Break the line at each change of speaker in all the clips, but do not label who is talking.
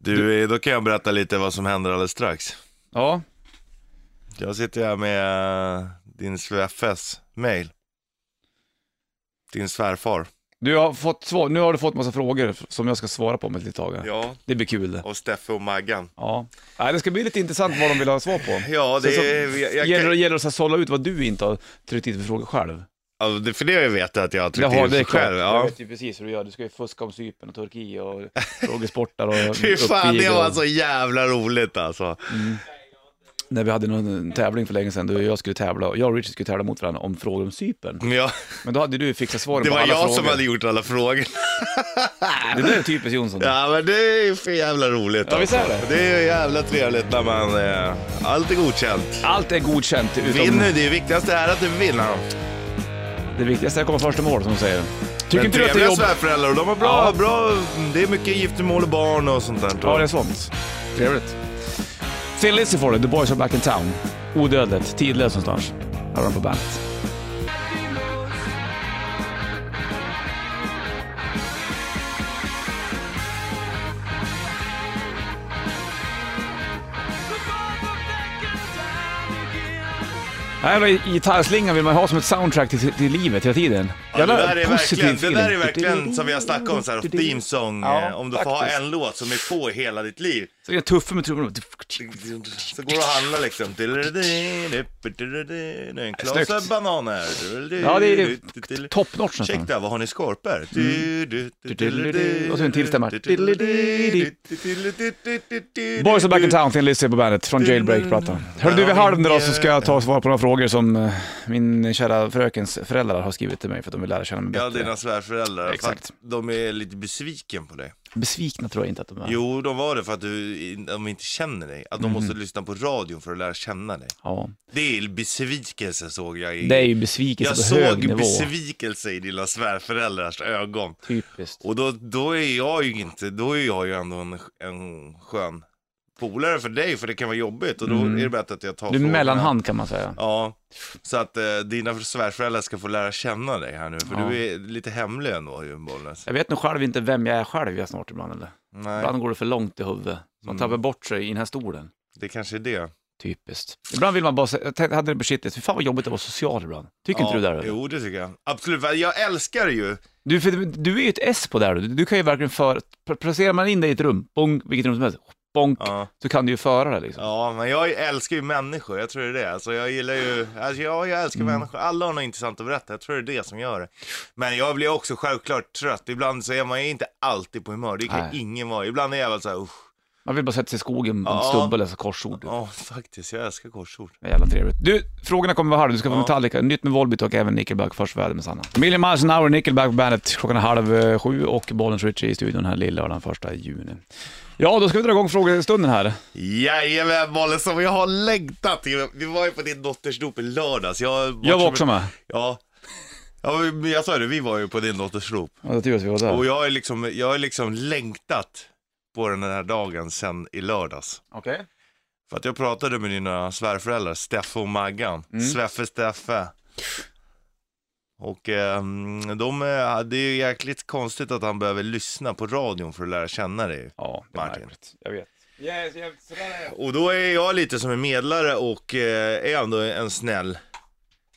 Du, eh, då kan jag berätta lite vad som händer alldeles strax.
Ja,
Jag sitter här med eh, din svärfärs mail. Din svärfar.
du har fått svar. Nu har du fått massa frågor som jag ska svara på om ett litet tag. här.
Ja.
Det blir kul det.
Och Steffe och Maggan.
Ja. Nej, det ska bli lite intressant vad de vill ha svar på.
Ja, det,
Sen så
jag, jag,
gäller,
kan-
det- gäller det att sålla ut vad du inte har tryckt in för frågor själv.
Ja, det, för det vet jag att jag har tryckt
Jaha,
in
det är
för
klart.
själv.
Jag
Ja.
vet ju precis hur du gör. Du ska ju fuska om Cypern och Turkiet och frågesportar och
Fy fan, det
uppvigling.
var alltså- så jävla roligt alltså.
Mm. När vi hade någon tävling för länge sedan, du och jag skulle tävla, jag och Richard skulle tävla mot varandra om frågor om Cypern.
Ja,
Men då hade du fixat svaren
det
på
var
alla
jag
frågor.
som hade gjort alla frågor.
Det där är typiskt Jonsson.
Ja, men det är ju för jävla roligt
Ja, visst är
alltså.
det?
Det är ju jävla trevligt när man... Eh, allt är godkänt.
Allt är godkänt utom...
Vinner, det viktigaste är att du vinner.
Det viktigaste är att komma först i mål, som de säger. Tycker
Men
inte du att det är
trevliga
jobbigt?
svärföräldrar och de har bra,
Ja.
bra... Det är mycket giftermål och barn och sånt där.
Ja, det är sånt. Trevligt. Thin Lizzy får det, The Boys Are Back In Town. Odödligt, tidlöst någonstans. Här har de på bandet. Den här jävla gitarrslingan vill man ha som ett soundtrack till, till livet hela tiden.
Ja, det, där är
positiv
verkligen, det där är
feeling.
verkligen som vi har snackat om, så här, theme song.
Ja,
eh, om du får ha
faktiskt.
en låt som är på hela ditt liv.
Så är det tuffa med trummorna.
Så går du och handlar liksom. En klase
Snyggt.
bananer.
Ja, det är top notch
Check
nästan.
där, vad har ni skorpor?
Och så en till stämma. Boys are back in town, Thin Lizzy på bandet från Jailbreak-plattan. Hörru du, vid halv nu då så ska jag ta och svara på några frågor som eh, min kära frökens föräldrar har skrivit till mig för att de vill lära känna mig
Ja,
bättre.
dina svärföräldrar.
Exakt.
Exakt. De är lite besviken på dig.
Besvikna tror jag inte att de är.
Jo, de var det för att du, de inte känner dig. Att
Mhm.
de måste lyssna på radion för att lära känna dig.
Ja.
Det är besvikelse såg jag i...
Det är ju besvikelse
jag
på hög
såg
nivå.
besvikelse i dina svärföräldrars ögon.
Typiskt.
Och då, då är jag ju inte, då är jag ju ändå en, en skön polare för dig, för det kan vara jobbigt. Och då är det bättre att jag tar
Mhm. Du är
frågorna.
mellanhand kan man säga.
Ja, så att eh, dina svärföräldrar ska få lära känna dig här nu, för
Ja.
du är lite hemlig ändå ju, Bollnäs.
Jag vet nog själv inte vem jag är själv jag snart ibland eller.
Nej,
Ibland går det för långt i huvudet. Så Man
Mm.
tappar bort sig i den här stolen.
det kanske är det.
Typiskt. Ibland vill man bara säga, jag tänkte- hade det på shitlist, fy fan vad jobbigt att vara social ibland. Tycker
Ja,
inte du det? eller?
Jo, det tycker jag. Absolut, för jag älskar det ju.
Du, för du är ju ett S på det här. Du, du kan ju verkligen föra... Placerar man in dig i ett rum, bonk, vilket rum som helst, bonk,
Ja.
så kan du ju föra det liksom.
Ja, men jag älskar ju människor, jag tror det är det. Alltså, jag gillar ju, alltså, ja, jag älskar
Mm.
människor, alla har något intressant att berätta, jag tror det är det som gör det. Men jag blir också självklart trött, ibland så är man ju inte alltid på humör, det kan
Nej.
ingen vara. Ibland är jag väl såhär, usch,
Man vill bara sätta sig i skogen på en
Ja.
stubbe och läsa korsord.
ja faktiskt, jag älskar korsord.
Det är jävla trevligt. Du, frågorna kommer vara här. Du ska få
Ja.
Metallica, nytt med Volbeat och även Nickelback. Först väder med Sanna. Million Miles an Hour, Nickelback på bandet. Klockan är halv eh, sju och Bollens Richie i studion här lillördagen första juni. Ja, då ska vi dra igång frågestunden här.
Jajamän bollen som jag har längtat! Vi var ju på din dotters dop i lördags. Jag,
Jag var också med.
Ja. ja, men jag sa det, vi var ju på din dotters dop.
Ja, det är tur att vi var där.
Och jag har liksom, jag har liksom längtat på den här dagen sen i lördags.
Okej.
För att jag pratade med dina svärföräldrar, Steffe och Maggan.
Mm.
Sveffe, Steffe. Och eh, de, eh, det är ju jäkligt konstigt att han behöver lyssna på radion för att lära känna dig.
Ja, det var
Martin.
märkligt. Jag vet. Yes, yes, sådär är jag.
Och då är jag lite som en medlare och eh, är ändå en snäll.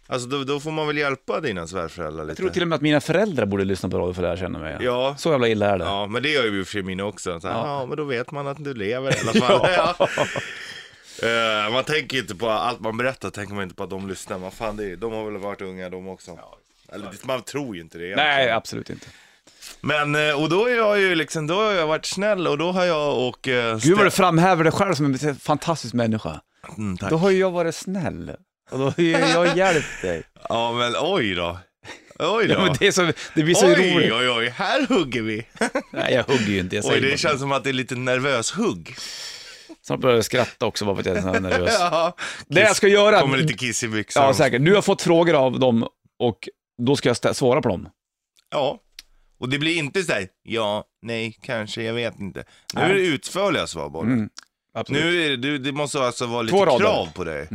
Alltså då, då får man väl hjälpa dina svärföräldrar lite.
Jag tror till och med att mina föräldrar borde lyssna på radio för att lära känna mig.
Ja.
Så jävla illa är det.
Ja, men det gör ju i och för sig mina också. Så här, ja.
Ja.
men då vet man att du lever i alla fall. ja. Eh, man tänker ju inte på allt man berättar, tänker man inte på att de lyssnar. Man, fan, det är, de har väl varit unga de också. Eller, man tror ju inte det. egentligen.
Nej, absolut inte.
Men, eh, och då är jag ju liksom, då har jag varit snäll och då har jag och... Eh,
Gud vad du
Ste-
framhäver dig själv som en fantastisk människa.
Mm, tack.
Då har ju jag varit snäll. Och då har ju jag hjälpt dig.
Ja, men oj då. Oj då.
Ja, men det, är så, det blir så
Oj,
roligt.
oj, oj, här hugger vi.
Nej, jag hugger ju inte. Jag
Oj,
säger
det
bara-
känns som att det är lite nervös hugg.
Snart börjar jag skratta också bara för att jag är så här nervös.
Ja.
Det jag ska göra...
Kommer lite kiss i byxan.
ja, säkert. Du har fått frågor av dem och då ska jag stä- svara på dem.
Ja. Och det blir inte så här, ja, nej, kanske, jag vet inte. Nu
Nej.
är det utförliga svar bara.
Mm, absolut.
Nu är det, du, det måste alltså vara lite
Två rader. Mm.
krav på dig.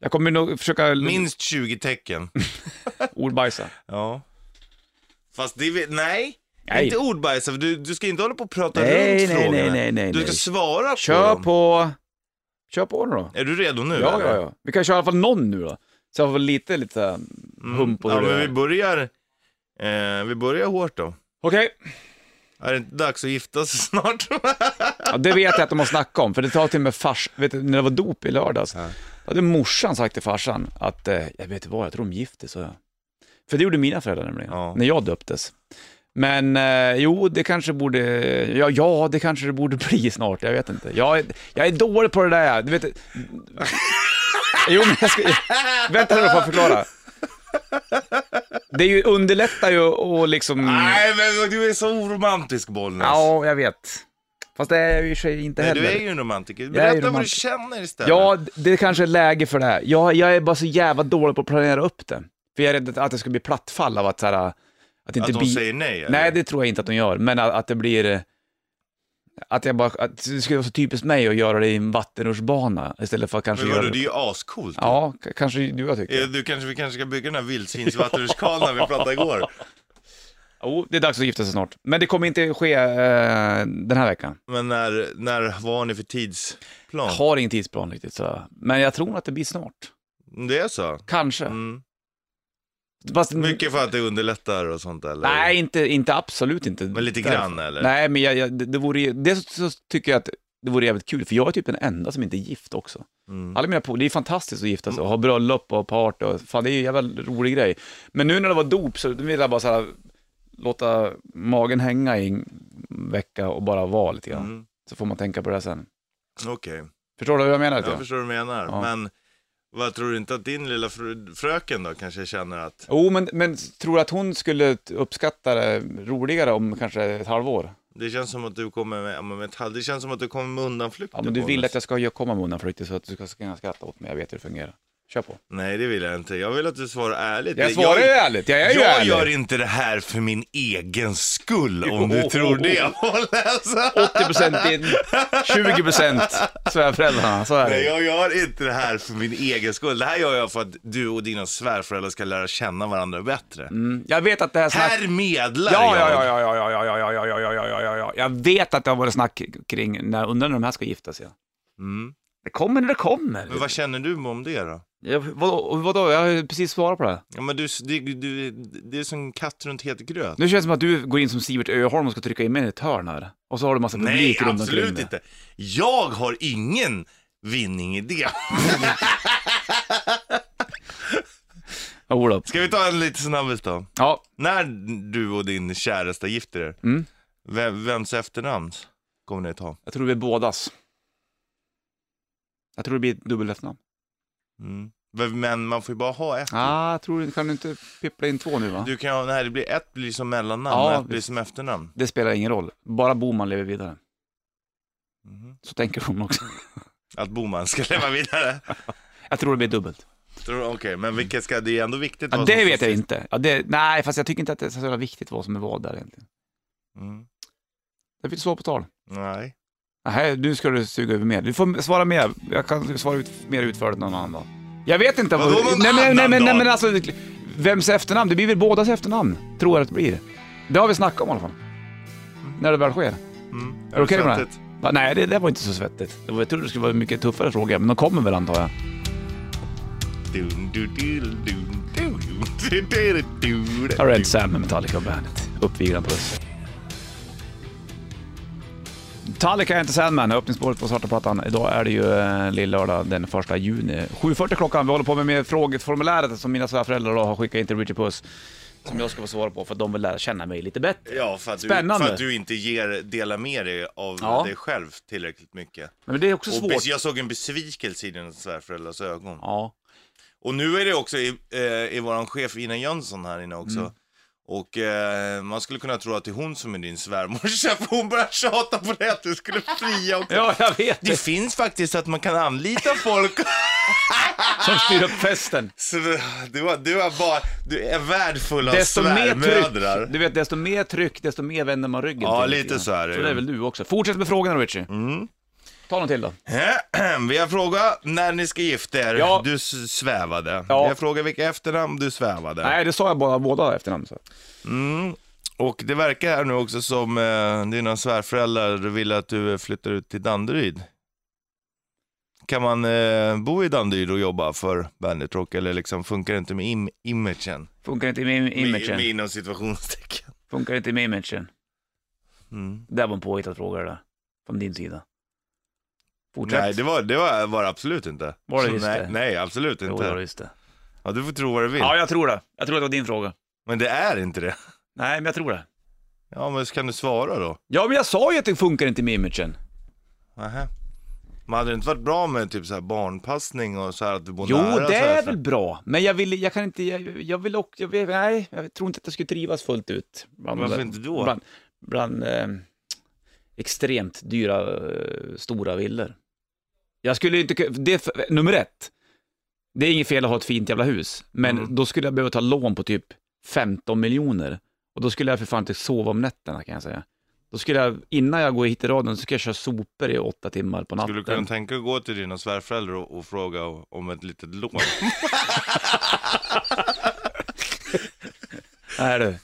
Jag kommer nog försöka Min...
Minst 20 tecken.
ordbajsa.
ja. Fast det, är väl- nej.
Nej.
Inte ordbajs, för du, du ska inte hålla på och prata
Nej,
runt
nej,
frågorna.
nej, nej, nej,
Du ska
nej.
svara på
Kör
dem.
på... Kör på nu då.
Är du redo nu?
Ja,
eller?
ja, ja. Vi kan köra i alla fall någon nu då. Så jag får lite, lite mm. hum på
ja,
hur det
men
är.
vi börjar, eh, vi börjar hårt då.
Okej,
Är det inte dags att gifta sig snart?
Mm. ja, det vet jag att de har snackat om, för det tar till och med fars, vet du, när det var dop i lördags,
Ja.
då hade morsan sagt till farsan att, eh, jag vet inte vad, jag tror de gifte så jag. För det gjorde mina föräldrar nämligen,
Ja.
när jag döptes. Men eh, jo, det kanske borde, ja, ja, det kanske det borde bli snart, jag vet inte. Jag, är- jag är dålig på det där, du vet. Jo, men jag ska, vänta nu får jag förklara. Det är ju, underlättar ju och liksom...
Nej, men du är så oromantisk Bollnäs.
Ja, jag vet. Fast det är jag i och för sig inte
Nej,
heller.
du är ju en romantiker.
Jag är ju
Berätta vad du
romantiker.
känner istället.
Ja, det kanske är läge för det här. Jag, jag är bara så jävla dålig på att planera upp det. För jag är rädd att det ska bli plattfall av att så här, att det inte
att de
blir...
säger nej? eller?
Nej, det tror jag inte att de gör, men att, att det blir... eh, Att jag bara... Att det skulle vara så typiskt mig att göra det i en vattenrutschbana istället för att kanske
Men
göra
vadå, det är ju ascoolt.
Ja, k- kanske du jag tycker.
Eh, Du kanske, vi kanske ska bygga den här vildsvinsvattenrutschkanan vi pratade igår.
Jo, det är dags att gifta sig snart. Men det kommer inte ske eh, den här veckan.
Men när, när var ni för tidsplan?
Jag har ingen tidsplan riktigt, så. men jag tror att det blir snart.
Det är så?
Kanske.
Mm.
Fast,
Mycket för att det underlättar och sånt eller?
Nej, inte, inte absolut inte.
Men lite
Därför-
grann eller?
Nej, men jag, jag, det, det vore, ju- dels så tycker jag att det vore jävligt kul, för jag är typ den enda som inte är gift också.
Mm.
Alla mina på, det är fantastiskt att gifta sig och ha bröllop och party och fan det är ju en jävla rolig grej. Men nu när det var dop så ville jag bara så här, låta magen hänga i en vecka och bara vara lite grann.
Mm.
Så får man tänka på det sen.
Okej,
Förstår du hur jag menar? lite
jag
grann?
förstår vad du menar.
Ja.
Men vad tror du inte att din lilla fru, fröken då kanske känner att,
Jo, men, men tror du att hon skulle t- uppskatta det roligare om kanske ett halvår?
det känns som att du kommer med, ja, men med ett halv- det känns som att du kommer med undanflykter
Ja, men du vill
Bollnäs.
att jag ska komma med undanflykter så att du ska kunna skratta åt mig, jag vet hur det fungerar. Kör på.
Nej det vill jag inte, jag vill att du svarar ärligt.
Jag svarar ju ärligt, jag är
jag,
ju
jag
ärlig.
gör inte det här för min egen skull om du
Jo.
tror det Alltså. Bollnäs.
80% in, 20% svärföräldrarna, så är det
Nej,
ju.
jag gör inte det här för min egen skull. Det här gör jag för att du och dina svärföräldrar ska lära känna varandra bättre.
Mm, Jag vet att det här snacket...
Här medlar
Ja,
jag.
ja, ja, ja, ja, ja, ja, ja, ja, ja, ja, ja, ja, ja, ja. Jag vet att det har varit snack kring, när, undrar när de här ska gifta sig.
Mm.
Det kommer när det kommer.
Men vad känner du om det då?
Jag, vadå, vadå, jag har ju precis svarat på det.
Ja, men du, du, du, det är som en katt runt het gröt.
Nu känns det som att du går in som Sivert Öholm och ska trycka in mig i ett hörn här. Och så har du massa
Nej,
publik runt omkring
absolut
dig.
inte. Jag har ingen vinning i det.
Jodå.
Ska vi ta en lite snabbis då?
Ja,
När du och din käresta gifter er,
Mm.
vem, vems efternamn kommer ni ta?
jag tror det blir bådas. Jag tror det blir ett dubbel efternamn.
Mm. Men man får ju bara ha ett.
Ah, jag tror kan du inte pippla in två nu va?
Du kan, nej, det blir ett blir som mellannamn
Ja,
och ett blir
visst.
som efternamn.
Det spelar ingen roll. Bara Boman lever vidare.
Mhm.
Så tänker hon också.
Att Boman ska leva vidare.
Jag tror det blir dubbelt.
Tror du- Okej, men vilket ska, det är ändå viktigt.
Ja,
vad
det
som
vet
står
jag
sist.
inte. Ja, det, nej, fast jag tycker inte att det är så jävla viktigt vad som är vad där egentligen.
Mm.
Jag fick svara på tal.
Nej.
Nej, nu ska du suga över mer. Du får svara mer. Jag kan svara ut, mer utförligt någon annan dag. Jag vet inte.
Vadå någon
nej, men, nej,
annan
men, nej,
dag?
men alltså, vems efternamn? Det blir väl bådas efternamn, tror jag att det blir. Det har vi snackat om i alla fall. När det väl sker.
Mm.
Är det okej med det?
svettigt?
Va, nej, det där var inte så svettigt. Det var- Jag trodde det skulle vara mycket tuffare frågor, men de kommer väl antar jag.
Dun, du, dun, dun, dun, dun, dun, dun, dun.
Här är Red Sam med Metallica och Bandet. Uppviglan puss. Metallica är inte Sandman, öppningsspåret på svarta plattan. Idag är det ju eh, lillördag den 1 juni. 7.40 klockan, vi håller på med, med frågeformuläret som mina svärföräldrar då har skickat in till Richard Puss. Som jag ska få svara på för att de vill lära känna mig lite bättre.
Ja, för att, du,
Spännande.
för att du inte ger, delar med dig av
Ja.
dig själv tillräckligt mycket.
Men det är också
Och
svårt.
bes- jag såg en besvikelse i dina svärföräldrars ögon.
Ja.
Och nu är det också i, eh, i våran chef Ina Jönsson här inne
Mm.
också. Och eh, man skulle kunna tro att det är hon som är din svärmorsa, för hon börjar tjata på det att du skulle fria också.
ja, jag vet
Det
det.
finns faktiskt att man kan anlita folk.
Som styr upp festen.
Så du, har- du, har bara, du är värd full av
Desto mer
svärmödrar.
tryck, du vet, desto mer tryck, desto mer vänder man ryggen
Ja,
till
lite
grann.
så är det
Så
ju.
det är väl du också. Fortsätt med frågorna Richie.
Mm.
Ta någon till då.
Vi har frågat när ni ska gifta er.
Ja.
Du s- svävade.
Ja.
Vi har frågat vilka efternamn du svävade.
Nej, det sa jag bara båda efternamn. Så.
Mm. Och det verkar här nu också som eh, dina svärföräldrar vill att du eh, flyttar ut till Danderyd. Kan man eh, bo i Danderyd och jobba för Bandit Rock eller liksom funkar det inte med im- imagen?
Funkar inte med im-
Med, med
imagen.
inom situationstecken.
Funkar inte med imagen.
Mm.
Det där var en påhittad fråga det där. Från din sida. Fortsätt.
Nej, det var det var, var det absolut inte.
Var det
Så
visst
nej,
det?
nej, absolut
Jo, det var det
inte.
just det.
Ja, du får tro vad du vill.
Ja, jag tror det. Jag tror att det var din fråga.
Men det är inte det.
Nej, men jag tror det.
Ja, men så kan du svara då?
Ja, men jag sa ju att det funkar inte med imagen.
Nähä. Men hade det inte varit bra med typ så här barnpassning och så här att du bor
Jo,
nära?
det
så här,
är
för-
väl bra. Men jag vill, jag kan inte, jag, jag vill också, jag vill, nej, jag tror inte att jag skulle trivas fullt ut. Bland,
Varför inte då?
Bland, bland eh, extremt dyra, eh, stora villor. Jag skulle ju inte, ku- det, är f- nummer ett, det är inget fel att ha ett fint jävla hus, men
Mm.
då skulle jag behöva ta lån på typ 15 miljoner. Och då skulle jag för fan inte sova om nätterna kan jag säga. Då skulle jag, innan jag går hit i radion, så ska jag köra sopor i åtta timmar på
Skulle du kunna
natten.
tänka att gå till dina svärföräldrar och, och fråga o- om ett litet lån?
Nej du.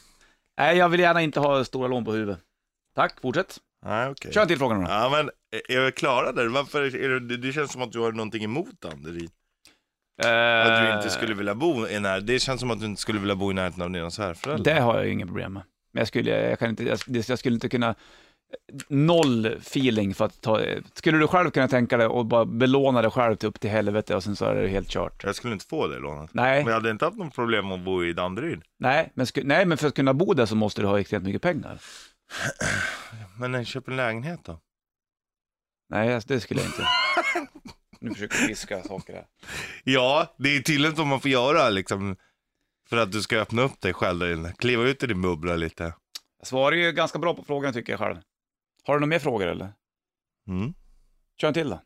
Nej, jag vill gärna inte ha stora lån på huvudet. Tack, fortsätt.
Nej, okej.
Kör en till fråga nu då.
Ja, men eh, är- är vi klara där? Varför är det, det- det känns som att du har någonting emot Danderyd. Att du
Eh,
inte skulle vilja bo i när, Det känns som att du inte skulle vilja bo i närheten av dina svärföräldrar.
Det har jag ju inga problem med. Men jag skulle, jag kan inte, jag, det- jag skulle inte kunna, noll feeling för att ta, skulle du själv kunna tänka dig och bara belåna dig själv till upp till helvete och sen så är det helt kört?
Jag skulle inte få det lånet.
Nej,
Men jag hade inte haft något problem att bo i Danderyd.
nej, men sku, nej, men för att kunna bo där så måste du ha extremt mycket pengar.
Men eh, köp en lägenhet då.
Nej, alltså, det skulle jag inte. Nu försöker jag fiska saker här.
Ja, det är tydligen vad man får göra liksom. För att du ska öppna upp dig själv där inne. Kliva ut i din bubbla lite.
Jag svarar ju ganska bra på frågan tycker jag själv. Har du några mer frågor eller?
Mm.
Kör en till då.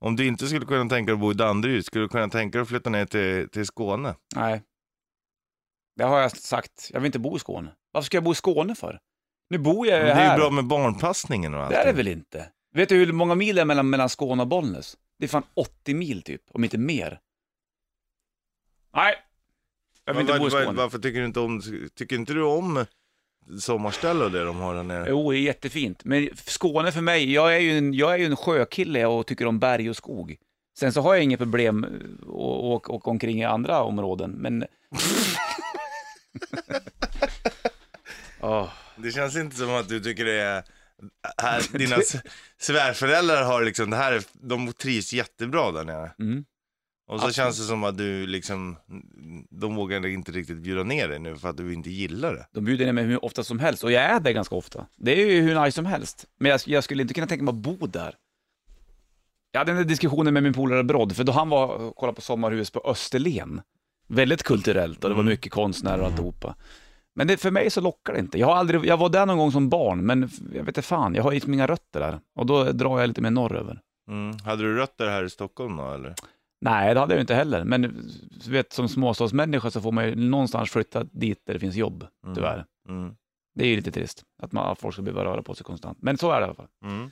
Om du inte skulle kunna tänka dig att bo i Danderyd, skulle du kunna tänka dig att flytta ner till, till Skåne?
Nej. Det har jag sagt. Jag vill inte bo i Skåne. Varför ska jag bo i Skåne för? Nu bor jag
Men
ju
det
här.
är ju bra med barnpassningen och allt.
Det är det väl inte? Vet du hur många mil det är mellan, mellan Skåne och Bollnäs? Det är fan 80 mil typ, om inte mer. Nej, jag vill inte
Var-
bo i
var-
Skåne.
Varför tycker du inte om, tycker inte du om sommarställe och det de har där nere?
Jo, det är jättefint. Men Skåne för mig, jag är ju en, jag är ju en sjökille och tycker om berg och skog. Sen så har jag inget problem eh, att åka åka omkring i andra områden, men... Åh.
Det känns inte som att du tycker det är, här, dina s- svärföräldrar har liksom, det här är, de trivs jättebra där nere.
Mm.
Och så känns det som att du liksom, de vågar inte riktigt bjuda ner dig nu för att du inte gillar det.
De bjuder ner mig hur ofta som helst och jag är där ganska ofta. Det är ju hur nice som helst. Men jag, jag skulle inte kunna tänka mig att bo där. Jag hade den där diskussionen med min polare Brodd, för då han var och kollade på sommarhus på Österlen. Väldigt kulturellt och det var mycket konstnärer och alltihopa. Men det, för mig så lockar det inte. Jag, har aldrig, jag var där någon gång som barn, men f- jag vet inte fan, jag har liksom inga rötter där. Och då drar jag lite mer norröver.
Mm. Hade du rötter här i Stockholm då eller?
Nej, det hade jag ju inte heller. Men du vet, som småstadsmänniska så får man ju någonstans flytta dit där det finns jobb,
Mm.
tyvärr.
Mm.
Det är ju lite trist att man, att folk ska behöva röra på sig konstant. Men så är det i alla fall.
Mm.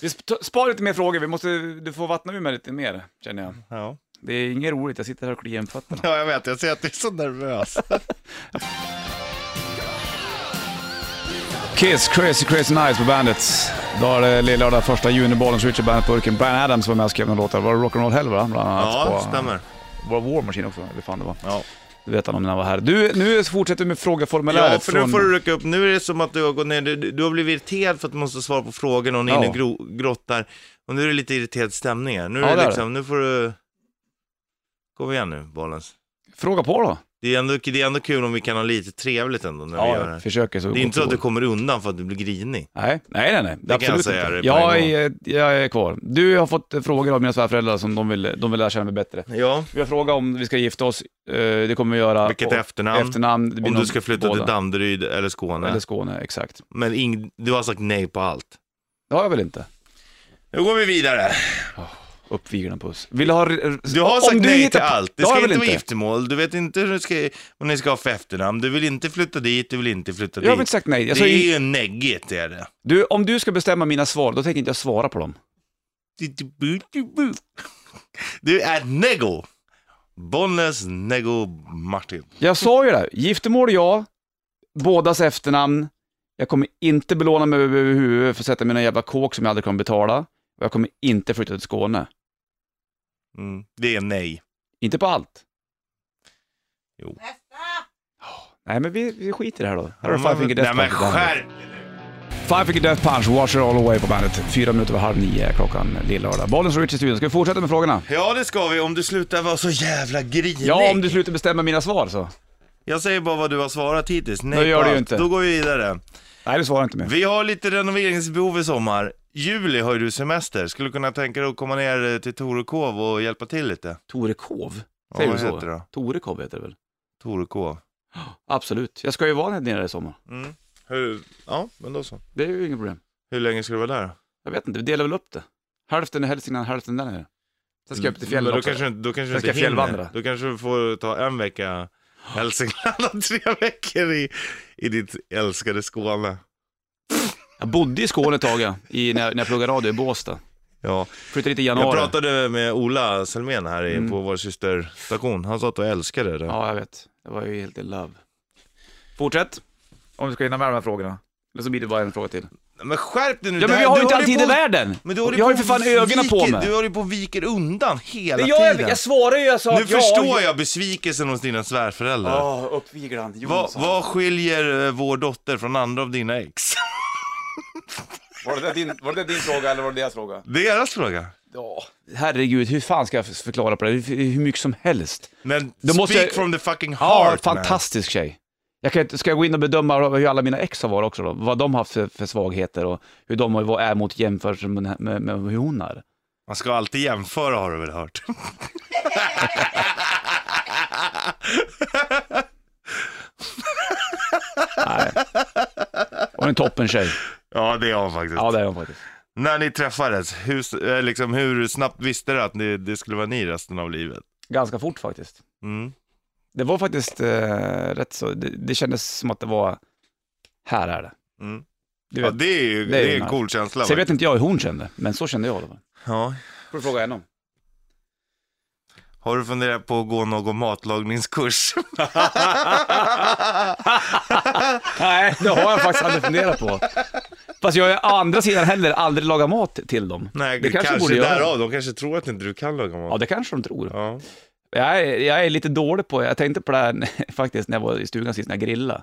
Vi sp- sparar lite mer frågor, vi måste, du får vattna ur mig lite mer känner jag.
Ja.
Det är inget roligt, jag sitter här och kliar mig på fötterna.
ja, jag vet, jag ser att du är så nervös.
Kiss, Crazy Crazy Nights på bandet. Då är det lillördag, första juni, Bollens Richard Bandet-burken. Brian Adams var med och skrev några låtar. Var det Rock'n'Roll Hell va? Bland annat
ja,
på,
stämmer.
Var det War Machine också? Eller fan det var.
Ja.
Du vet han om när han var här. Du, nu fortsätter vi med frågeformuläret.
Ja, för nu får du rycka upp. Nu är det som att du har gått ner, du, du har blivit irriterad för att du måste svara på frågorna och ni är inne
Ja.
och gro, grottar. Och nu är det lite irriterad stämning här. Nu,
Ja,
är
det
det
är
liksom, nu får du... Kom igen nu, Bollens.
Fråga på då.
Det är, ändå, det är ändå kul om vi kan ha lite trevligt ändå när vi gör det
Ja,
här.
försöker så
Det är inte så att
gott
du
det går.
kommer undan för att du blir grinig.
Nej, nej, nej. nej.
kan
Det
jag
absolut
säga dig
inte.
på en
Jag
gång.
är, jag är kvar. Du har fått frågor av mina svärföräldrar som de vill, de vill lära känna mig bättre.
Ja,
Vi har frågat om vi ska gifta oss, eh, det kommer vi göra.
vilket
Och-
efternamn.
efternamn det blir
om du
nog
ska flytta
båda.
till Danderyd eller Skåne.
Eller Skåne, exakt.
Men ing, du har sagt nej på allt.
Det har jag väl inte?
Nu går vi vidare.
Uppvigla puss. Vill du ha...
Du har sagt
om du
nej
hittar
till
på-
allt. Det
har
ska
jag
inte
väl
vara giftermål, du vet inte hur du ska, vad ni ska ha för efternamn, du vill inte flytta dit, du vill inte flytta
Jag har väl
dit.
inte sagt nej. Jag sa
det är
ju,
ju neggigt är det.
du, om du ska bestämma mina svar, då tänker inte jag svara på dem.
Du är nego. Bollnäs nego Martin.
Jag sa ju det, här. giftermål ja, bådas efternamn. Jag kommer inte belåna mig över över huvudet för att sätta mina jävla kåk som jag aldrig kommer betala. Och jag kommer inte flytta till Skåne.
Mm. Det är nej.
Inte på allt.
Jo.
Nej, men vi, vi skiter i det här då. Här har du Five
Nej
Finger Death
men
Punch på bandet.
skärp
Five Finger Death Punch, Wash It All Away på bandet. Fyra minuter över halv nio är klockan lillördag. Bollen slår Rich i studion. Ska vi fortsätta med frågorna?
Ja det ska vi, om du slutar vara så jävla grinig.
Ja, om du slutar bestämma mina svar så.
Jag säger bara vad du har svarat hittills. Nej
Det gör
på
du ju
allt.
inte.
Då går vi vidare.
Nej, du svarar inte mer.
Vi har lite renoveringsbehov i sommar. Juli har ju du semester. Skulle du kunna tänka dig att komma ner eh, till Torekov och hjälpa till lite?
Torekov? Säger
ja,
du
vad
så?
heter det då?
Torekov heter det väl?
Torekov.
Absolut. Jag ska ju vara nere i sommar.
Mm. Hur... Ja, men då så.
Det är ju inget problem.
Hur länge ska du vara där?
Jag vet inte, vi delar väl upp det. Hälften i Hälsingland, hälften där nere. Sen ska jag upp till fjällen
Men då
också.
kanske, du- då kanske du
Jag ska
inte hinner.
fjällvandra.
Då kanske du får ta en vecka Hälsingland och tre veckor i, i ditt älskade Skåne.
Jag bodde i Skåne ett tag, ja, i, när, jag- när jag pluggade radio i Båstad.
Ja.
Flyttade dit i
Jag
januari.
pratade med Ola Selmén här i-
Mm.
på vår systerstation. Han sa att du älskade det.
Ja, jag vet. Det var ju helt i love. Fortsätt. Om vi ska hinna med de här frågorna. Eller så blir det bara en fråga till.
Men skärp dig nu!
Ja,
Det
men
här-
vi har
du
ju inte all tid
på-
i världen!
Men du håller
jag har ju för
på
fan ögonen på
viker-
mig.
Du håller på och viker undan hela
Det gör jag,
tiden.
jag svarar ju, jag sa
nu förstår jag besvikelsen hos dina svärföräldrar.
Ja, uppviglaren.
Vad
Jonsson.
vad skiljer eh, vår dotter från andra av dina ex?
Var, det din, var det din fråga eller var det deras fråga?
Deras fråga.
Ja, herregud, hur fan ska jag förklara på det? Hur, hur mycket som helst.
Men
Då
speak
måste jag-
from the fucking
Ja,
heart. man.
fantastisk tjej. Jag kan, inte- ska jag gå in och bedöma hur alla mina ex har varit också då? Vad de har haft för, för svagheter och hur de har- är mot jämfört med, med, med hur hon är.
Man ska alltid jämföra har du väl hört?
Nej. Hon är en toppen tjej.
ja, det är hon faktiskt.
Ja, det är hon faktiskt.
När ni träffades, hur, s- eh, liksom, hur snabbt visste du att ni, det skulle vara ni resten av livet?
Ganska fort faktiskt.
Mm.
Det var faktiskt eh, rätt så, det, det kändes som att det var, här är det.
Mm.
Du
ja,
vet.
det är ju
det är
det
ju
är en
nice.
cool känsla.
Sen
va?
vet inte jag hur hon kände, men så kände jag i alla fall.
Ja.
Får du fråga henne om?
Har du funderat på att gå någon matlagningskurs?
Nej, det har jag faktiskt aldrig funderat på. Fast jag har ju å andra sidan heller aldrig lagat mat till dem.
Nej,
det kanske,
kanske,
jag borde göra.
därav. De kanske tror att inte du kan laga
Ja,
mat.
det kanske de tror.
Ja.
Jag är, jag är lite dålig på, jag tänkte på det här faktiskt när jag var i stugan sist när jag grillade.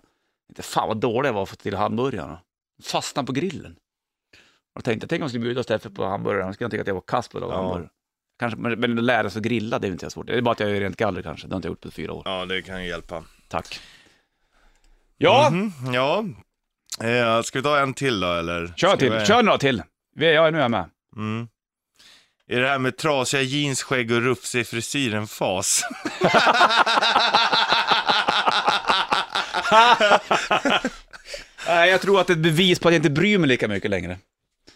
Inte fan vad dålig jag var för till hamburgarna. Fastnade på grillen. Och tänkte, tänk om jag skulle bjuda Steffe på hamburgare, han skulle tycka att jag var kass på att laga
Ja.
hamburgare. Kanske, men men att lära sig att grilla, det är ju inte så svårt. Det är bara att jag är rent galler kanske, det har inte jag gjort på fyra år.
ja, det kan ju hjälpa.
Tack. Ja,
Mhm, ja. Eh, ska vi ta en till då eller?
kör
Ska
till,
vi-
kör några till. Vi- Jag är nu är jag med.
Mm. Är det här med trasiga jeans, skägg och rufsig frisyr en fas?
Nej, jag tror att det är ett bevis på att jag inte bryr mig lika mycket längre.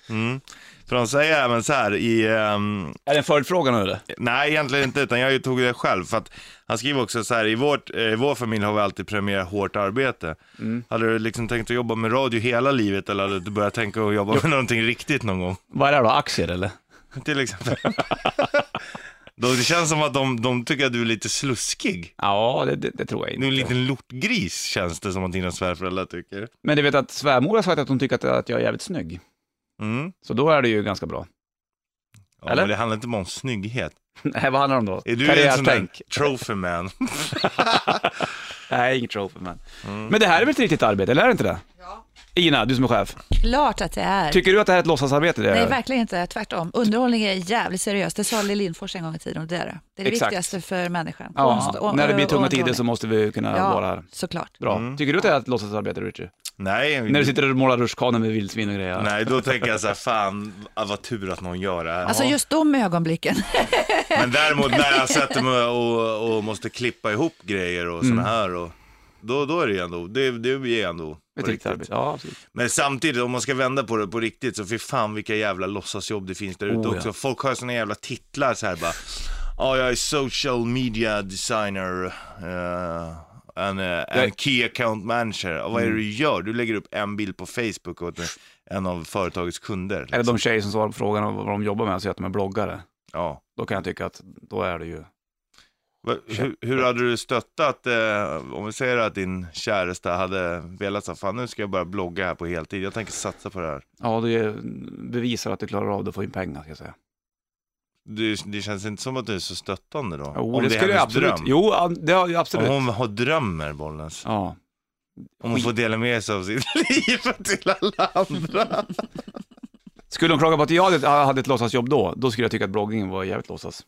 Mm. För de säger även så här i, ehm,
Är det en följdfråga nu eller?
nej egentligen inte, utan jag tog det själv. För att han skriver också så här, i, vårt, eh, i vår familj har vi alltid premierat hårt arbete.
Mm.
Hade du liksom tänkt att jobba med radio hela livet eller hade du börjat tänka att jobba med någonting riktigt någon gång?
Vad är det här då, aktier eller?
Till exempel. Då det känns som att de, de tycker att du är lite sluskig.
Ja, det, det, det tror jag
Du är
inte.
en liten lortgris känns det som att dina svärföräldrar tycker.
Men du vet att svärmor har sagt att hon tycker att, att jag är jävligt snygg.
Mm.
Så då är det ju ganska bra.
Ja,
Eller?
Men det handlar inte bara om snygghet.
Nej, vad handlar det om då?
Är du en sån där
Karriärstänk?
trophy man?
Nej, inget trophy man. Men det här är väl ett riktigt arbete, eller är det inte det? Ja. Ina, du som är chef.
Klart att det är.
Tycker du att det här är ett låtsasarbete? Det
Nej,
är?
verkligen inte. Tvärtom. Underhållning är jävligt seriöst. Det sa Lill Lindfors en gång i tiden och det är det. Det är det
Exakt.
viktigaste för människan. Konst
Ja,
och-
när det blir
och
tunga
underhållning.
tider så måste vi kunna
ja,
vara här.
såklart.
Bra.
Mm.
Tycker du att det är ett låtsasarbete, Richie?
Nej,
När du sitter och målar rutschkanor med vildsvin och grejer?
Mm. nej, då tänker jag så här, fan vad tur att någon gör det här.
Alltså just de ögonblicken.
Men däremot när jag sätter mig och, och måste klippa ihop grejer och
Mm.
såna här, och, då, då är det ju ändå, det, det är ändå
Ett
på
riktigt arbete. Ja, absolut.
Men samtidigt, om man ska vända på det på riktigt, så fy fan vilka jävla låtsasjobb det finns där ute
Oh, ja.
också. Folk har såna jävla titlar så här bara. Ja, jag är social media designer eh, and, eh, and
Jag- Mm.
key account manager. Och vad är det du gör? Du lägger upp en bild på Facebook åt en av företagets kunder. Liksom.
Eller de tjejer som svarar på frågan om vad de jobbar med, så att de är bloggare.
Ja.
Då kan jag tycka att då är det ju
Va- Hur, hur hade du stöttat, eh, om vi säger att din käresta hade velat säga, fan nu ska jag börja blogga här på heltid, jag tänker satsa på det här.
Ja, du bevisar att du klarar av det och får in pengar, ska jag säga.
Du, det känns inte som att du är så stöttande då?
Jo,
om
Oh, det,
är
skulle jag
hennes
absolut.
dröm.
Jo, ja, det har jag
Om
absolut.
hon har drömmer, Bollnäs.
Ja.
Om hon får dela med sig av sitt liv till alla andra.
Skulle hon klaga på att jag hade, hade ett låtsasjobb då, då skulle jag tycka att bloggingen var jävligt låtsas.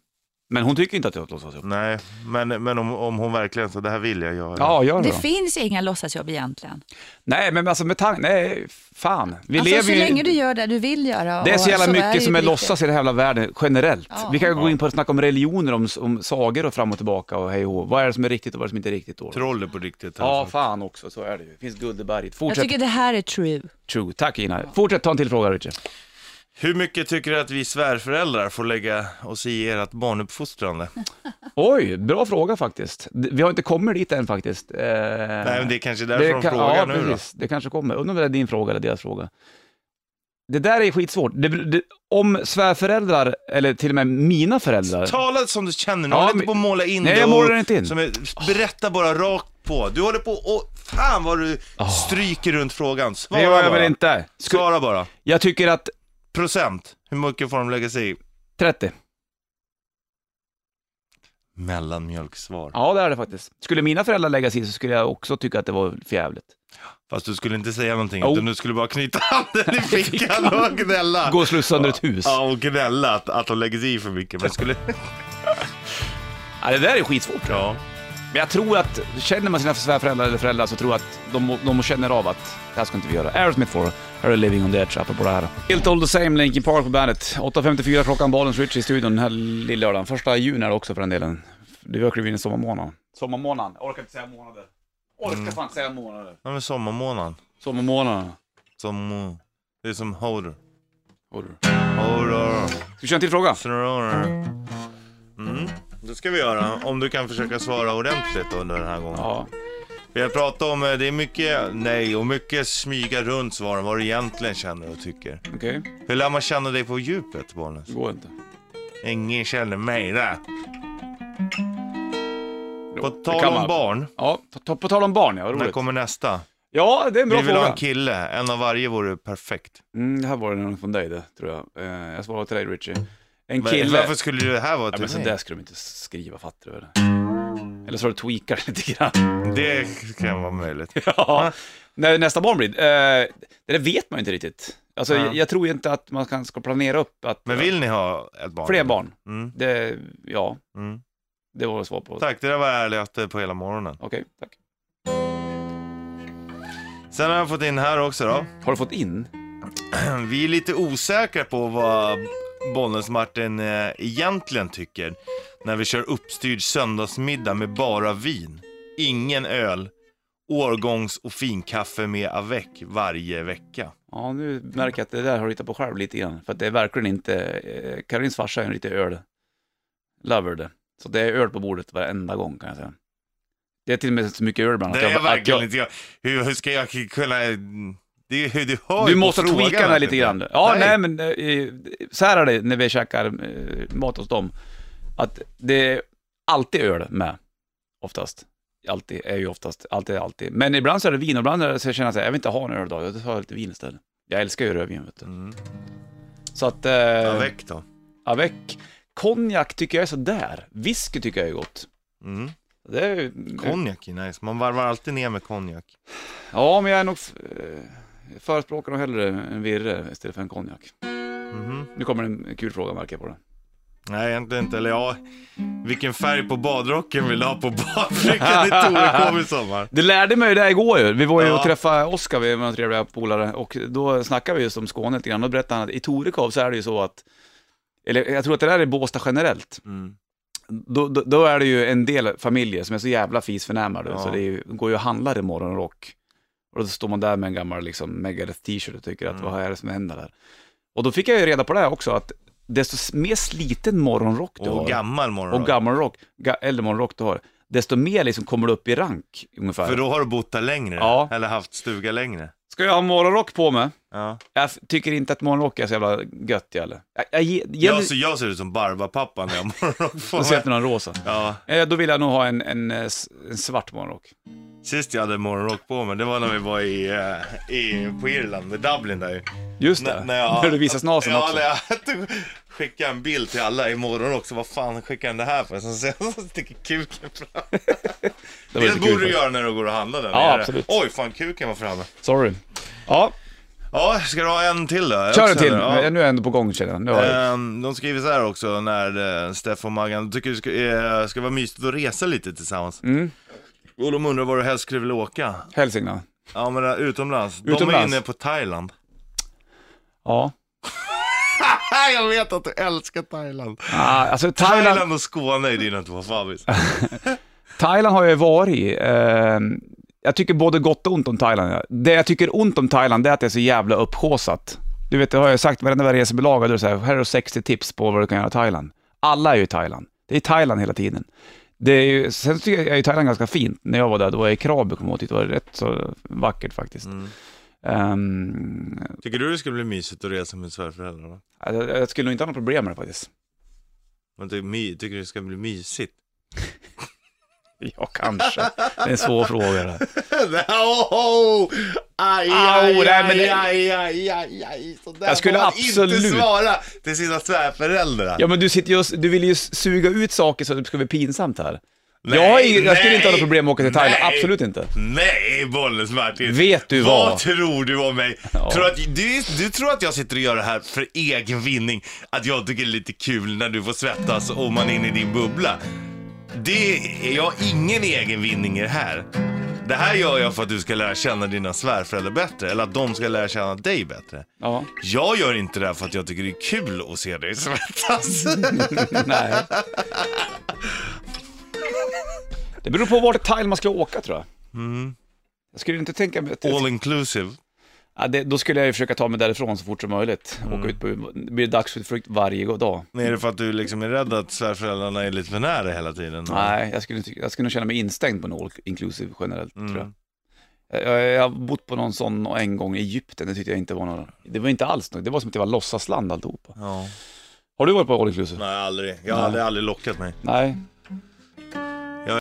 Men hon tycker inte att jag har ett låtsasjobb.
Nej, men, men om, om hon verkligen så det här vill jag göra.
Ja, gör det
Det
då.
finns inga låtsasjobb egentligen.
Nej, men alltså med tanke, nej, fan. Vi
alltså, så
lever ju...
länge du gör det du vill göra.
Det är så
och
jävla
det
mycket
ju
som är
på
låtsas i den här jävla världen generellt.
Ja.
Vi kan ju gå in på att snacka om religioner, om, om sagor och fram och tillbaka och hej och hå. Vad är det som är riktigt och vad är det som inte är riktigt då?
Troll är på riktigt.
Ja,
alltså.
fan också, så är det ju. Det finns guld i berget.
Jag
Fortsätt,
tycker det här är true.
true. Tack Ina. Fortsätt, ta en till fråga Richard.
Hur mycket tycker du att vi svärföräldrar får lägga oss i ert barnuppfostrande?
Oj, bra fråga faktiskt. D- Vi har inte kommit dit än faktiskt. Eh,
Nej, men det är kanske därför de frågar
ja,
nu då.
precis. Det kanske kommer. Undrar om det är din fråga eller deras fråga. Det där är skitsvårt. Det, det, om svärföräldrar, eller till och med mina föräldrar...
Tala som du känner nu,
Eh. Ja,
håll inte
men-
på att måla in
Nej,
det
jag
och-
målar inte in.
Som är, berätta bara rakt på. Du håller på och, fan vad du stryker runt frågan. Svara
det gör Ah. jag
bara.
väl inte. Sku-
Svara bara.
Jag tycker att
Procent, hur mycket får de lägga sig i?
30.
Mellanmjölksvar.
Ja, det är det faktiskt. Skulle mina föräldrar lägga sig i så skulle jag också tycka att det var för jävligt.
Fast du skulle inte säga någonting,
Jo.
utan du skulle bara knyta handen i fickan och gnälla.
Gå och slå sönder ett hus.
Ja, och gnälla att, att de lägger sig i för mycket. Men skulle...
Ja, det där är skitsvårt.
Ja.
Men jag tror att, känner man sina svärföräldrar eller föräldrar så tror jag att de, de känner av att det här ska inte vi göra. Aerosmith får Här är Living on the Edge, apropå det här. Helt all the same, Linkin Park på bandet. 8.54 klockan, Balens Rich i studion den här lilla lördagen. Första juni är det också för den delen. Du har klivit in i sommarmånaden. Sommarmånaden, orkar inte säga månader. Orkar
Mm.
fan inte säga månader.
ja, men sommarmånaden.
Sommarmånaden.
Som... Det är som horror.
Orr.
Horror.
Ska vi köra en till fråga?
Horror. Mm. Det ska vi göra, om du kan försöka svara ordentligt under den här gången.
Ja.
Vi har pratat om, eh, det är mycket nej och mycket smyga runt svaren, vad du egentligen känner och tycker.
Okej,
Hur lär man känna dig på djupet, Bollnäs?
det går inte.
Ingen känner mig där. På
Det
tal
kan
om
man.
barn,
Ja, på, på, tal om barn ja, vad
när
roligt.
kommer nästa?
Ja, det är en bra
Vi vill ha en
fråga.
kille, en av varje vore perfekt.
Mm, det här var någon från dig det, tror jag. Eh, jag svarar till dig Richie. En
Men
kille...
Varför skulle det här vara typ-
Ja, men
till
sånt där
mig?
skulle de inte skriva, fattar du väl? Eller så har du tweakat lite grann.
Det kan vara möjligt.
ja. När nästa barn blir, eh, det där vet man ju inte riktigt. Alltså,
Ja.
jag, jag tror inte att man kan, ska planera upp att...
Men vill ni ha ett barn?
Fler barn.
Mm,
Det, ja,
mm.
det var svar på.
Tack, det där var ärligaste på hela morgonen.
Okej, tack.
Sen har jag fått in här också då.
Har du fått in?
Vi är lite osäkra på vad Bollnäs Martin eh, egentligen tycker när vi kör uppstyrd söndagsmiddag med bara vin, ingen öl, årgångs och finkaffe med avec varje vecka.
Ja, nu märker jag att det där har du hittat på själv lite grann. För att det är verkligen inte... Eh, Karins farsa är en riktig öl-lover det. Så det är öl på bordet varenda gång kan jag säga. Det är till och med så mycket öl ibland. att
Det är
jag- att jag-
verkligen inte jag. Hur, hur ska jag kunna... Det är, hur du hör ju
Du
på
måste
frågan
tweaka den här
att
lite
det-
grann. Ja,
Nej.
nej, men eh, så här är det när vi käkar eh, mat hos dem. Att det är alltid öl med, oftast. Alltid, är ju oftast, alltid, alltid. Men ibland så är det vin och ibland är det, så känner jag så här, jag vill inte ha en öl idag, jag tar lite vin istället. Jag älskar ju rödvin, vet du.
Mm.
Så att... Eh,
Avec då.
Avec. Konjak tycker jag är sådär. Whisky tycker jag är gott.
Mm.
Det är, ju-
Konjak är nice, man varvar alltid ner med konjak.
ja, men jag är nog... eh, Förespråkar nog hellre en virre istället för en konjak.
Mhm.
Nu kommer en kul fråga märker jag på det.
Nej, egentligen inte. Eller ja, vilken färg på badrocken vill du ha på badbrickan i Torekov i sommar?
Det lärde mig ju det igår ju. Vi var ju
Ja.
och träffade Oskar, vi var några trevliga polare, och då snackade vi just om Skåne lite grann. Då berättade han att i Torekov så är det ju så att, eller jag tror att det där är Båstad generellt,
Mm.
då, då, då är det ju en del familjer som är så jävla fisförnämade,
Ja.
så det är, ju- går ju och handlar i morgonrock. Och då står man där med en gammal liksom, Megadeth t-shirt och tycker att
Mm.
vad är det som händer där? Och då fick jag ju reda på det här också, att desto s- mer sliten morgonrock du
Och
har,
gammal morgon.
och gammal rock, ga, äldre morgonrock du har, desto mer liksom kommer du upp i rank ungefär.
För då har du bott där längre,
Ja.
eller haft stuga längre.
Ska jag ha morgonrock på mig?
Ja.
Jag f- tycker inte att morgonrock är så jävla gött jävlar. Jag, jag, jag, jag,
Jag, så jag ser ut som Barbapappan när jag har morgonrock på
jag ser
mig.
efter någon rosa.
Ja,
Eh, Då vill jag nog ha en, en, eh, s- en svart morgonrock.
sist jag hade morgonrock på mig, det var när vi var i, eh, i, på Irland, i Dublin där ju. N-
Just det, när du visar snasen
ja,
också.
När jag tog- skickade en bild till alla i morgon också. Vad fan skickar han det här för? Sen sen så sticker kuken fram.
Det
Det
var lite kul
borde du
faktiskt.
göra när du går och handlar där
Ja,
nere.
absolut.
Oj, fan kuken var framme.
Sorry. Ja,
Ja, ska du ha en till då?
kör
Också,
en till.
eller? Ja.
Nu är jag ändå på gång känner jag. Nu har jag.
Ehm, de skriver så här också när eh, Steffo och Maggan tycker det ska, eh, ska vara mysigt att resa lite tillsammans.
Mm.
Och de undrar var du helst skulle vilja åka.
Hälsingland.
Ja men eh, utomlands. De är
Utomlands.
inne på Thailand.
Ja.
jag vet att du älskar Thailand.
Ah, alltså Thailand,
Thailand och Skåne är dina två favorit.
Thailand har jag ju varit i. Eh, jag tycker både gott och ont om Thailand. Det jag tycker ont om Thailand det är att det är så jävla upphaussat. Du vet, det har jag sagt varenda resebilaga, då är det så här, här är det 60 tips på vad du kan göra i Thailand. Alla är ju i Thailand. Det är Thailand hela tiden. Det är ju, sen tycker jag, jag är ju Thailand ganska fint. När jag var där, då var jag i Krabi kom jag åt dit, det var rätt så vackert faktiskt. Ehm,
Tycker du det skulle bli mysigt att resa med svärföräldrarna?
jag, jag skulle nog inte ha några problem med det faktiskt.
Men ty- my- tycker du det ska bli mysigt?
Ja, kanske. Det är en svår fråga det här.
oh, aj,
Au, nej, men det-
aj, aj, aj, aj, så där
Jag skulle
får man
absolut-
inte svara till sina svärföräldrar.
Ja men du, sitter just, du vill ju s- suga ut saker så att det ska bli pinsamt här.
Nej,
jag, har ju- jag skulle inte ha
nej,
något problem med att åka till Thailand,
nej.
absolut inte.
Nej, Bollens Martin.
Vet du
vad?
vad?
tror du om mig?
Ja.
Tror att, du, du tror att jag sitter och gör det här för egen vinning? Att jag tycker det är lite kul när du får svettas och man är inne i din bubbla? Det är jag har ingen egen vinning i det här. Det här gör jag för att du ska lära känna dina svärföräldrar bättre, eller att de ska lära känna dig bättre.
Ja,
Jag gör inte det här för att jag tycker det är kul att se dig svettas.
nej. Det beror på vart i Thailand man ska åka tror jag. Jag skulle inte tänka mig att...
Mm. All inclusive.
Ja, det, då skulle jag ju försöka ta mig därifrån så fort som möjligt. Åka ut på... Det blir dagsutflykt varje dag.
Men är det för att du liksom är rädd att svärföräldrarna är lite för nära hela tiden?
Nej, jag skulle, inte- jag skulle nog känna mig instängd på en all inclusive generellt, tror jag. jag. Jag jag har bott på någon sån en gång i Egypten, det tyckte jag inte var någon... Det var inte alls något, det var som att det var låtsasland alltihopa.
Ja.
Har du varit på all inclusive?
Nej, aldrig. Jag har aldrig, aldrig lockat mig.
Nej.